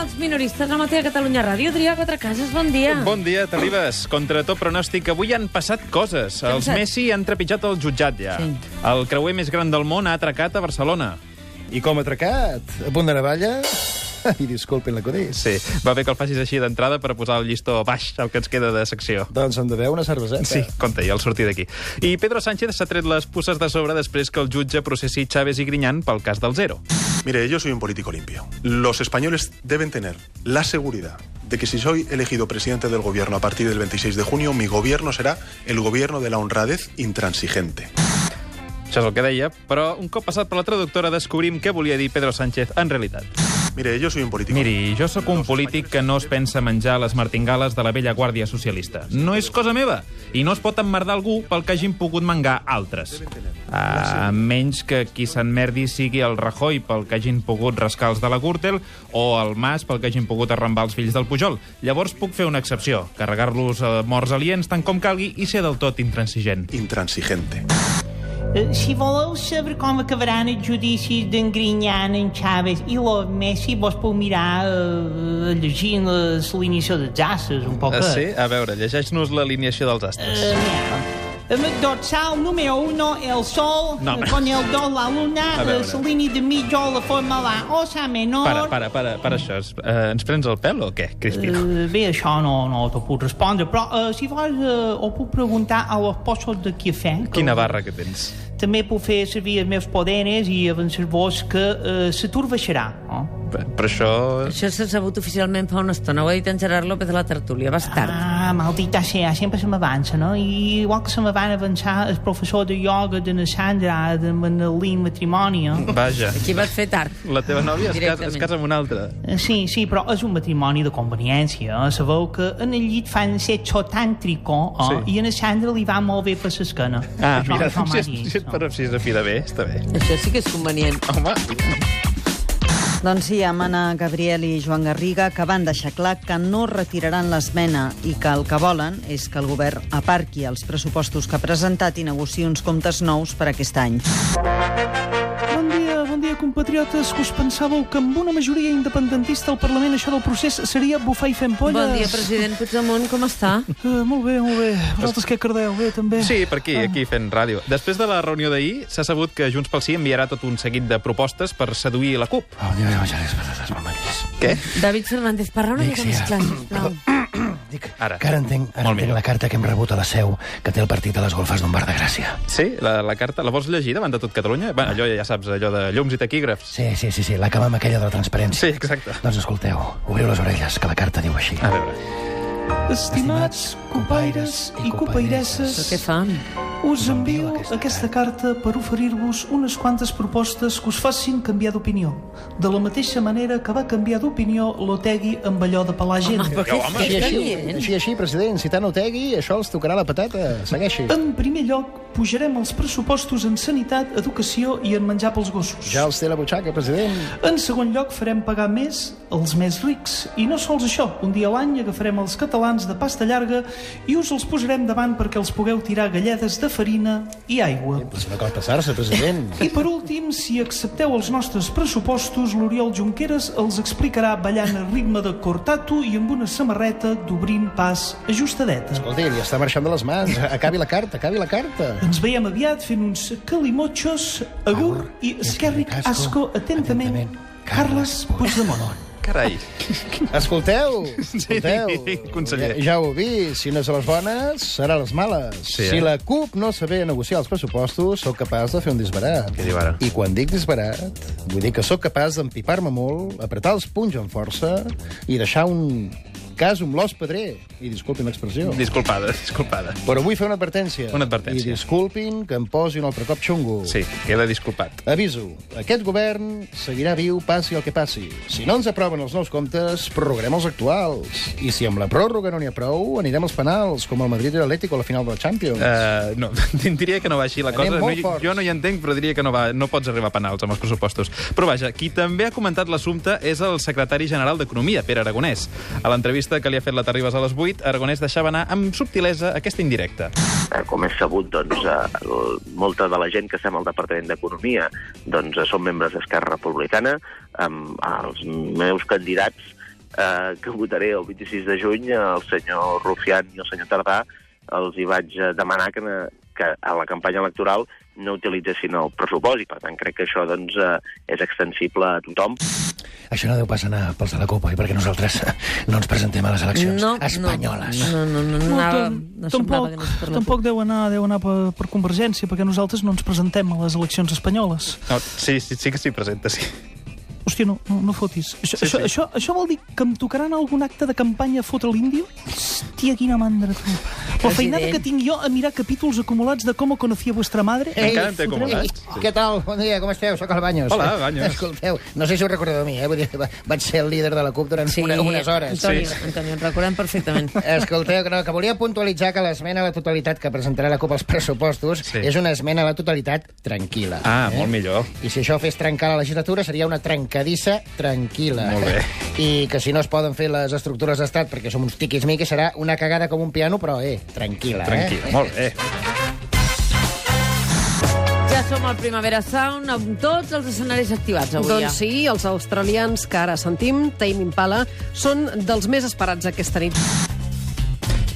els minoristes, la mateixa Catalunya Ràdio. Adrià Quatrecases, bon dia. Bon dia, t'arribes. Contra tot pronòstic, avui han passat coses. ha Els passat? Messi han trepitjat el jutjat ja. Sí. El creuer més gran del món ha atracat a Barcelona. I com atracat? A punt de navalla? I disculpin la codis. Sí, va bé que el facis així d'entrada per posar el llistó baix, el que ens queda de secció. Doncs hem de veure una cerveseta. Sí, compte, ja el sortir d'aquí. I Pedro Sánchez s'ha tret les puces de sobre després que el jutge processi Chávez i Griñán pel cas del Zero. Mire, yo soy un político limpio. Los españoles deben tener la seguridad de que si soy elegido presidente del gobierno a partir del 26 de junio, mi gobierno será el gobierno de la honradez intransigente. Això és el que deia, però un cop passat per la traductora descobrim què volia dir Pedro Sánchez en realitat. Mire, yo soy un político Miri, jo sóc un polític que no es pensa menjar les martingales de la vella guàrdia socialista. No és cosa meva, i no es pot emmerdar algú pel que hagin pogut mangar altres. A menys que qui s'emmerdi sigui el Rajoy pel que hagin pogut rascar els de la Gürtel o el Mas pel que hagin pogut arrambar els fills del Pujol. Llavors puc fer una excepció, carregar-los a morts aliens tant com calgui i ser del tot intransigent. intransigente. Eh, Si voleu saber com acabaran els judicis d'en Grinyán, en Chávez i lo Messi, vos podeu mirar eh, llegint les línies de aces un Ah, poc. Eh, A veure, llegeix-nos l'alineació dels astres. Eh, mira. Amb el dorsal número 1, el sol, eh, No, home. con el do, la A luna, veure. les línies de mitjó, la forma la osa menor... Para, para, para, para això. Eh, ens prens el pèl o què, Cristino? Eh, bé, això no, no t'ho puc respondre, però eh, si vols eh, ho puc preguntar a los possos de cafè. que- Quina barra que tens. També puc fer servir els meus poderes i avançar-vos que eh, l'atur baixarà. Oh? Però però això... Això s'ha sabut oficialment fa una estona. Ho ha dit en Gerard López de la tertúlia, bastard. Ah, maldita sea, sempre se m'avança, no? I igual que se me van avançar el professor de ioga de na Sandra, de Manolín Matrimoni, eh? Vaja. Aquí vas fer tard. La teva nòvia es casa, es Directament. casa amb una altra. Eh, Sí, sí, però és un matrimoni de conveniència. Eh? Sabeu que en el llit fan sexo tàntrico eh? Sí. i a na Sandra li va molt bé per l'esquena. Ah, Això- mira, això m'ha si, és, dit, si, és, no? però si és a fi de bé, està bé. Això sí que és convenient. Home, Doncs sí, Amana Gabriel i Joan Garriga que van deixar clar que no retiraran l'esmena i que el que volen és que el govern aparqui els pressupostos que ha presentat i negociï uns comptes nous per aquest any. Bon dia, bon dia, compatriotes, que us pensàveu que amb una majoria independentista al Parlament això del procés seria bufar i fer ampolles? Bon dia, president Puigdemont, com està? Uh, molt bé, molt bé. Vosaltres què cardeu? Bé, també. sí, per aquí, aquí fent ràdio. Després de la reunió d'ahir, s'ha sabut que Junts pel Sí enviarà tot un seguit de propostes per seduir la CUP. Oh, Què? David Fernández, parla una mica més clar. sisplau. Dic, Ara. ara. que ara entenc, ara Molt entenc millor. la carta que hem rebut a la seu que té el partit a les golfes d'un bar de Gràcia. Sí, la, la carta, la vols llegir davant de tot Catalunya? Bé, allò ja saps, allò de llums i taquígrafs. Sí, sí, sí, sí la cama amb aquella de la transparència. Sí, exacte. Doncs escolteu, obriu les orelles, que la carta diu així. A veure, Estimats compaires Però i què compairesses, fa? us envio aquesta carta per oferir-vos unes quantes propostes que us facin canviar d'opinió. De la mateixa manera que va canviar d'opinió l'Otegui amb allò de pelar gent. Home, però què està Així, així, dient? així, així, president, si tant Otegui, això els tocarà la patata. Segueixi. En primer lloc, pujarem els pressupostos en sanitat, educació i en menjar pels gossos. Ja els té la butxaca, president. En segon lloc, farem pagar més els més rics. I no sols això, un dia a l'any agafarem els catalans de pasta llarga i us els posarem davant perquè els pugueu tirar galledes de farina i aigua. Però si Doncs no cal passar-se, president. I per últim, si accepteu els nostres pressupostos, l'Oriol Junqueras els explicarà ballant a ritme de cortato i amb una samarreta d'obrint pas ajustadeta. Escolti, li està marxant de les mans. Acabi la carta, acabi la carta. Ens veiem aviat fent uns calimochos, agur i esquerric asco atentament, Carles Puigdemont. carai. Escolteu, escolteu. Sí, conseller. Ja, ja ho he vist, si no és a les bones, serà a les males. Sí, si eh? la CUP no sabé negociar els pressupostos, sóc capaç de fer un disbarat. Què diu ara? I quan dic disbarat, vull dir que sóc capaç d'empipar-me molt, apretar els punys amb força i deixar un cas un l'os pedrer. I disculpin l'expressió. Disculpada, disculpada. Però vull fer una advertència. Una advertència. I disculpin que em posi un altre cop xungo. Sí, queda disculpat. Aviso, aquest govern seguirà viu passi el que passi. Si no ens aproven els nous comptes, prorrogarem els actuals. I si amb la pròrroga no n'hi ha prou, anirem als penals, com el Madrid i l'Atlético a la final de la Champions. Uh, no, diria que no va així la Anem cosa. No, molt hi- forts. jo no hi entenc, però diria que no, va, no pots arribar a penals amb els pressupostos. Però vaja, qui també ha comentat l'assumpte és el secretari general d'Economia, Pere Aragonès. A l'entrevista que li ha fet la Terribas a les 8, Aragonès deixava anar amb subtilesa aquesta indirecta. Eh, Com és sabut, doncs, eh, el- molta de la gent que estem al Departament d'Economia doncs, eh, són membres d'Esquerra Republicana. Amb els meus candidats eh, que votaré el 26 de juny, el senyor Rufián i el senyor Tardà els hi vaig eh, demanar que, ne- que a la campanya electoral no utilitzessin el pressupost i, per tant, crec que això doncs, eh, és extensible a tothom. Això no deu passar anar pels de la eh, Copa, oi? Perquè nosaltres no ens presentem a les eleccions No, espanyoles. No, no, no, no, No, anava, tam- no semblava tampoc, que anés per la tampoc deu anar, deu anar per, per Convergència, perquè nosaltres no ens presentem a les eleccions espanyoles. No, sí, sí, sí que s'hi presenta, sí. Hòstia, no, no, no fotis. Això, Sí, això, sí. Això, això vol dir que em tocaran algun acte de campanya a fotre l'índio? Hòstia, quina mandra, tu. La President. feinada que tinc jo a mirar capítols acumulats de com conocía vuestra madre... Ei, Encara en té acumulats? Ei, Què tal? Bon dia, com esteu? Sóc el Banyos. Hola, Baños. Escolteu, no sé si us recordeu de mi, eh? Vull dir, va- vaig ser el líder de la CUP durant sí. Eh. una, unes hores. Antonio, sí. Antonio, en recordem perfectament. Escolteu, que, no, que volia puntualitzar que l'esmena a la totalitat que presentarà la CUP als pressupostos Sí. sí. és una esmena a la totalitat tranquil·la. eh? Ah, molt millor. Eh? I si això fes trencar la legislatura, seria una trencadissa tranquil·la. Molt bé. I que si no es poden fer les estructures d'estat perquè som uns tiquis-miquis, serà una cagada com un piano, però, eh, tranquil·la. Tranquil, Eh? molt bé. Ja som al Primavera Sound amb tots els escenaris activats avui. Doncs sí, els australians que ara sentim, Tame Impala, són dels més esperats aquesta nit.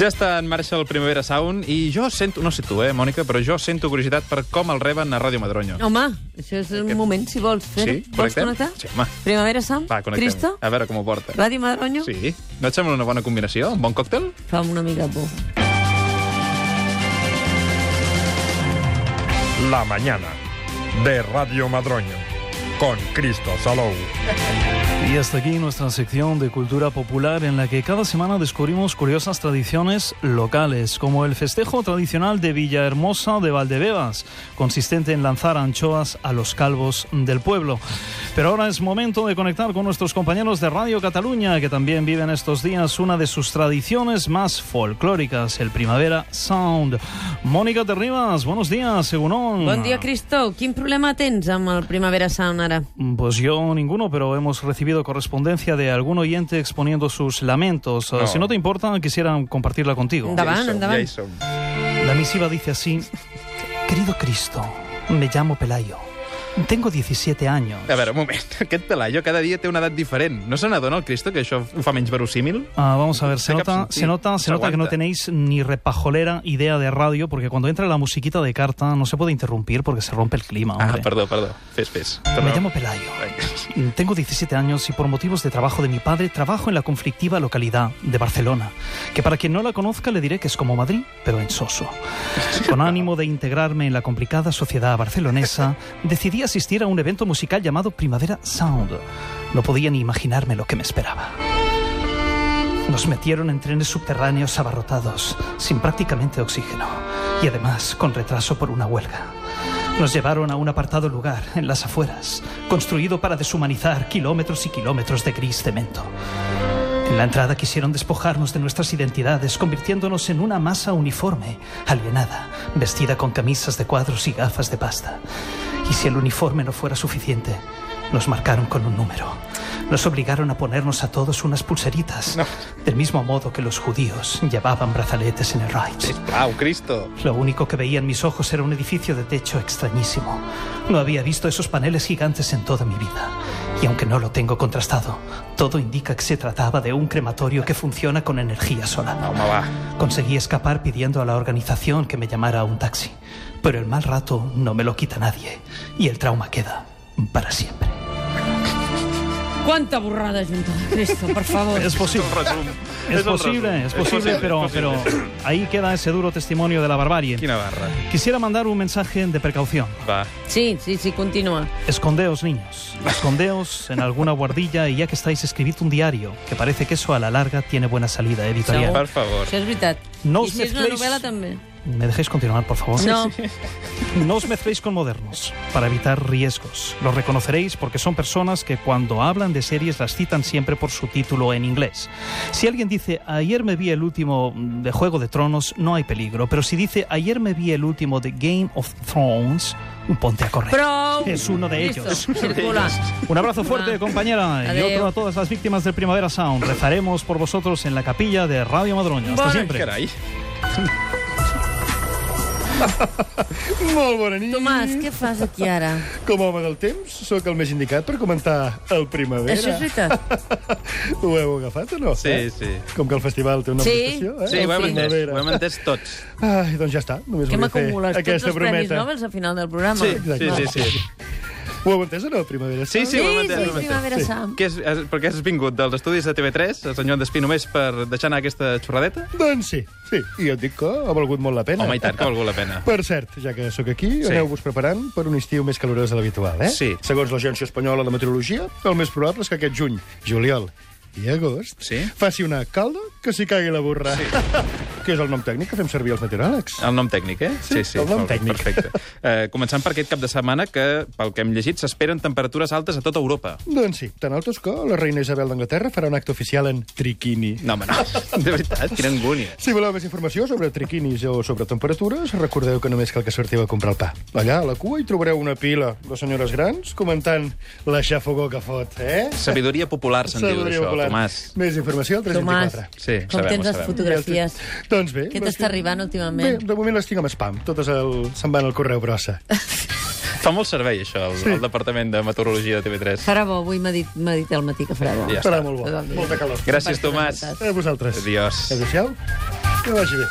Ja està en marxa el Primavera Sound i jo sento, no sé tu, eh, Mònica, però jo sento curiositat per com el reben a Ràdio Madronyo. Ja. Home, això és un moment, si vols fer Sí, Vols connectem? connectar? Sí, home. Primavera Sound? Va, connectem. Cristo? A veure com ho porta. Ràdio Madronyo? Sí. No et sembla una bona combinació? Un bon còctel? Fa una mica por. La mañana de Radio Madroño con Cristo Salou. Y hasta aquí nuestra sección de cultura popular en la que cada semana descubrimos curiosas tradiciones locales, como el festejo tradicional de Villahermosa de Valdebebas, consistente en lanzar anchoas a los calvos del pueblo. Pero ahora es momento de conectar con nuestros compañeros de Radio Cataluña, que también viven estos días una de sus tradiciones más folclóricas, el Primavera Sound. Mónica Terribas, buenos días, Segunón. Bon dia, Cristo. Quin problema tens amb el Primavera Sound ara? Mm, Pues yo ninguno, pero hemos recibido correspondencia de algún oyente exponiendo sus lamentos. Eh, No. Si no te importa, quisiera compartirla contigo. Da- Endavant, ja hi som, endavant. Ja hi som. La misiva dice así, querido Cristo, me llamo Pelayo, tengo 17 años. A veure, un moment. Aquest pelayo cada dia té una edat diferent. No se n'adona el Cristo que això ho fa menys verosímil? Ah, vamos a ver, se Sé que nota, absentí. se nota, se Se nota que no aguanta. tenéis ni repajolera idea de radio, porque cuando entra la musiquita de carta no se puede interrumpir porque se rompe el clima. Ah, hombre. perdó, perdó. Fes, fes. Me llamo Pelayo. Tengo 17 años y por motivos de trabajo de mi padre trabajo en la conflictiva localidad de Barcelona, que para quien no la conozca le diré que es como Madrid, pero en Soso. Con ánimo de integrarme en la complicada sociedad barcelonesa, decidí asistir a un evento musical llamado Primavera Sound. No podía ni imaginarme lo que me esperaba. Nos metieron en trenes subterráneos abarrotados, sin prácticamente oxígeno, y además con retraso por una huelga. Nos llevaron a un apartado lugar, en las afueras, construido para deshumanizar kilómetros y kilómetros de gris cemento. En la entrada quisieron despojarnos de nuestras identidades, convirtiéndonos en una masa uniforme, alienada, vestida con camisas de cuadros y gafas de pasta. Y si el uniforme no fuera suficiente, nos marcaron con un número. Nos obligaron a ponernos a todos unas pulseritas, del mismo modo que los judíos llevaban brazaletes en el Reich. Au, Cristo. Lo único que veía en mis ojos era un edificio de techo extrañísimo. No había visto esos paneles gigantes en toda mi vida. Y aunque no lo tengo contrastado, todo indica que se trataba de un crematorio que funciona con energía solar. Home, va. Conseguí escapar pidiendo a la organización que me llamara a un taxi. Pero el mal rato no me lo quita nadie. Y el trauma queda para siempre. Quanta borrada junta, Cristo, per favor. Es posible. Un resum. Es el resum. posible, es posible, pero, pero ahí queda ese duro testimonio de la barbarie. Quina barra. Quisiera mandar un mensaje de precaución. Va. Sí, sí, sí, continua. Escondeos, niños. Escondeos en alguna guardilla y ya que estáis, escribid un diario, que parece que eso a la larga tiene buena salida editorial. Segur. Per favor. Això és veritat. No I us si és una mezcléis- novel·la, també. ¿Me dejáis continuar, por favor? No, No os mezcléis con modernos, para evitar riesgos. Los reconoceréis porque son personas que cuando hablan de series las citan siempre por su título en inglés. Si alguien dice, ayer me vi el último mm, de Juego de Tronos, no hay peligro. Pero si dice, ayer me vi el último de Game of Thrones, ponte a correr. prou. Es uno de Cristo, ellos. Circula. Un abrazo fuerte, Va. compañera, Ah. Adeu. y otro a todas las víctimas del Primavera Sound. Rezaremos por Eh? vosotros en la capilla de Radio Madroño. Hasta Bueno, siempre. Carai. Molt bona nit. Tomàs, què fas aquí ara? Com a home del temps, sóc el més indicat per comentar el Primavera. Això és veritat. Ho heu agafat o no? Sí, eh? sí. Com que el festival té una Sí. prestació, eh? Sí, El ho hem entès, Primavera. ho hem entès tots. Ai, doncs ja està. Només Que volia fer m'acumules tots aquesta els premis brometa. Nobels al final del programa. Sí, sí, Exacte. sí, sí. Ho heu entès o no, Primavera? Sí, sí, Sí, ho hem sí, entès. ho hem Primavera entès. Sam. Què és, és, per què has vingut dels estudis de TV3, el senyor Despí, només per deixar anar aquesta xorradeta? Doncs sí, sí. I jo et dic que ha valgut molt la pena. Home, i tant, que ha valgut la pena. Per cert, ja que sóc aquí, Sí. sí. aneu-vos preparant per un estiu més calorós de l'habitual, eh? Sí. Segons l'Agència Espanyola de Meteorologia, el més probable és que aquest juny, juliol i agost Sí. faci una calda que s'hi cagui la borra. Sí. que és el nom tècnic que fem servir els meteoròlegs. El nom tècnic, eh? Sí, el nom molt bé, tècnic. Perfecte. Eh, començant per aquest cap de setmana, que, pel que hem llegit, s'esperen temperatures altes a tota Europa. Doncs sí, tan altos que la reina Isabel d'Anglaterra farà un acte oficial en triquini. No, home, no. De veritat, quina angúnia. Si voleu més informació sobre triquinis o sobre temperatures, recordeu que només cal que sortiu a comprar el pa. Allà, a la cua, hi trobareu una pila de senyores grans comentant la xafogó que fot, eh? Sabidoria popular, se'n diu, Saludaria d'això, popular. Tomàs. Més informació al Tomàs, 324. Sí, com sabem, ho tens les sabem. fotografies? Doncs bé... Què les t'està tinc- arribant Bé, últimament? de moment les tinc amb spam. Totes el... se'n van al correu brossa. Fa molt servei, això, el, sí. el Departament de Meteorologia de TV3. Farà bo, avui m'ha dit, m'ha dit al matí que farà bo. Ja Serà està. molt bo. Tot el dia. Molta calor. Gràcies, Tomàs. A vosaltres. Adiós. Adéu-siau. Que vagi bé.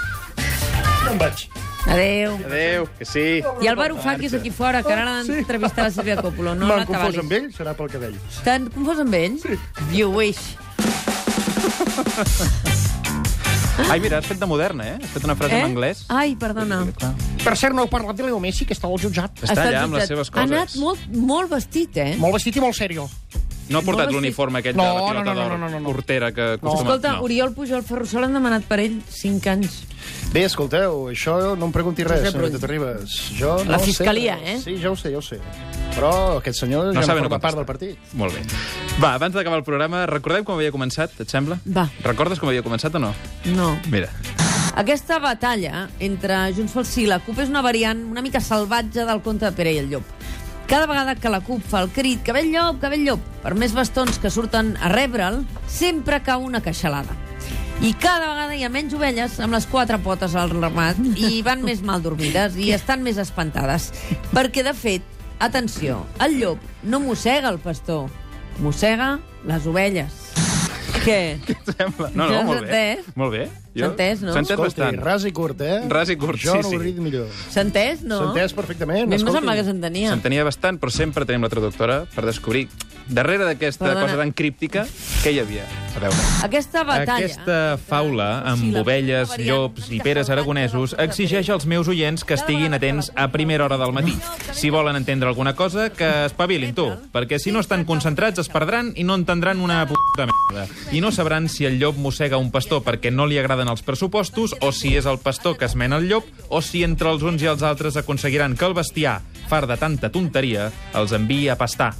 Me'n vaig. Adéu. Adéu, que Ah, sí. I el Barufaki és aquí fora, que ara l'han d'entrevistar la Sílvia Coppola. No M'han la confós t'avalis. amb ell, serà pel cabell. T'han confós amb ell? Sí. You wish. Ai, mira, has fet de moderna, eh? Has fet una frase en anglès. Ai, perdona. Per cert, no heu parlat de Leo Messi, que està al jutjat. Ha Està estat allà amb les jutjat. seves coses. Ha anat molt, molt vestit, eh? Molt vestit i molt serio. No ha portat molt l'uniforme aquest de No, la no, pilota no, no, d'or no, no, no. portera que acostuma... Escolta, Oriol Pujol Ferrusol han demanat per ell 5 anys. Bé, escolteu, això no em pregunti res, Josep Rull. senyoreta Terribas. Jo no La ho sé, fiscalia, però- eh? Sí, ja ho sé, ja ho sé. Però aquest senyor No ja saben no forma contestar. part del partit. Molt bé. Va, abans d'acabar el programa, recordem com havia començat, et sembla? Va. Recordes com havia començat o no? No. Mira. Aquesta batalla entre Junts pel Sí i la CUP és una variant una mica salvatge del conte de Pere i el Llop. Cada vegada que la CUP fa el crit que ve el llop, que ve el llop, per més bastons que surten a rebre'l, sempre cau una queixalada. I cada vegada hi ha menys ovelles amb les quatre potes al ramat i van més mal dormides i estan més espantades. Perquè, de fet, atenció, el llop no mossega el pastor, mossega les ovelles. Què? Què et sembla? No, no, Ja molt s'ha bé. entès. Molt bé. S'ha entès, no? S'ha entès Escolti, bastant. ras i curt, eh? Ras i curt, jo sí, no sí. ho he dit millor. S'ha entès, no? S'ha entès perfectament, A mi em escolti. sembla que s'entenia. S'entenia bastant, però sempre tenim la traductora per descobrir darrere d'aquesta Perdona. cosa tan críptica què hi havia. A veure. Aquesta batalla... Aquesta faula amb ovelles, llops i peres aragonesos exigeix als meus oients que estiguin atents a primera hora del matí. Si volen entendre alguna cosa, que espavilin tu, perquè si no estan concentrats es perdran i no entendran una puta merda. I no sabran si el llop mossega un pastor perquè no li agraden els pressupostos, o si és el pastor que esmena el llop, o si entre els uns i els altres aconseguiran que el bestiar, far de tanta tonteria, els enviï a pastar.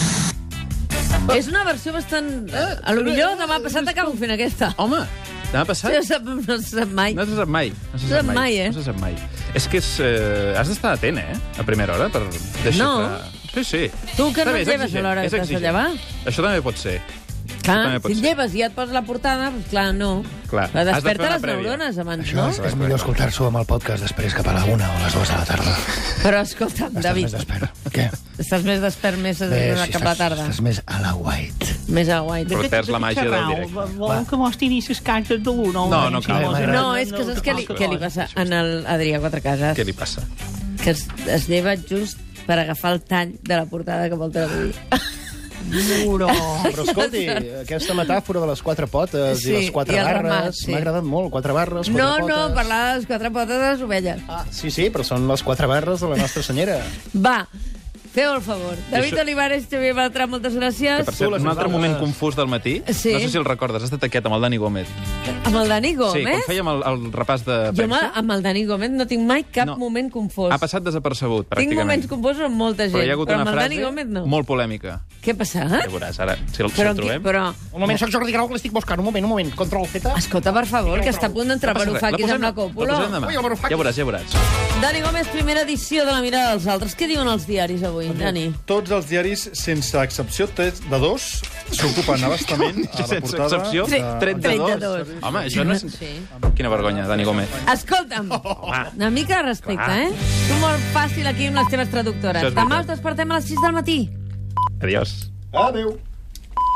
És una versió bastant... eh, A lo millor demà passat acabo fent aquesta. Home, demà Sí, passat... No, sap, no se sap mai. No se sap mai. No se sap mai, eh? No se sap mai. És que és, eh, has d'estar atent, eh? A primera hora per deixar... No. Sí, sí. Tu que no bé, et és lleves exigent, a l'hora és que t'has de exigent. llevar. Això també pot ser. Clar, també pot si et ser. lleves i ja et poses la portada, doncs clar, no. Clar. Has de La fer desperta una les prèvia. neurones abans, Això no? és, és millor escoltar-s'ho amb el podcast després cap a la una o les dues de la tarda. Però Estàs escolta'm, més David, despert. Què? estàs més despert més de Bé, cap a la tarda. estàs més a la white. Més a guai. Però perds la màgia del directe. Volen que mostri les cartes de l'una? Oh, No, no cal. eh? No, és que saps què li, què li passa en el Adrià Quatrecases? Què li passa? que es, es lleva just per agafar el tall de la portada que vol traduir. Duro. Però escolti, aquesta metàfora de les quatre potes Sí, i les quatre i el barres ramat, sí. m'ha agradat molt. Quatre barres, quatre No, potes... no, parlava de les quatre potes de les ovelles. Ah, sí, sí, però són les quatre barres de la nostra senyera. Va, feu el favor. David això... Olivares, Xavier Bertran, moltes Que, gràcies. per cert, les un altre nosaltres- moment confús del matí, Ah, Sí. no sé si el recordes, has estat taquet amb el Dani Gómez. Amb el Dani sí, Gómez? quan fèiem el, el repàs de Jo premsa, amb, amb el Dani Gómez no tinc mai cap No. no. moment confós. ha passat desapercebut, Tinc pràcticament. moments confosos amb molta gent, Però hi ha hagut però una amb el frase Dani Gómez no. molt polèmica. Què passa? Eh? Ja veuràs, ara, si el, si Però, el en qui- trobem... però... Un moment, soc Jordi Grau, que l'estic buscant. Un moment, un moment. Control Z. Escolta, per favor, que està a punt d'entrar No passa res, Varoufakis posem- amb la còpula. La posem demà. Ui, el Varoufakis. Ja veuràs, ja veuràs. Dani Gómez, primera edició de La mirada dels altres. Què diuen els diaris avui? Dani. Tots els diaris, sense excepció, tres de dos, s'ocupen abastament a la Sense portada... excepció, Sí, 32. 32. Home, això no és... Sí. Quina vergonya, Dani Gómez. Escolta'm, una mica de respecte, Oh, Clar. eh? Tu molt fàcil aquí amb les teves Això traductores. és Demà veritat. us despertem a les 6 del matí. Adiós. Adéu.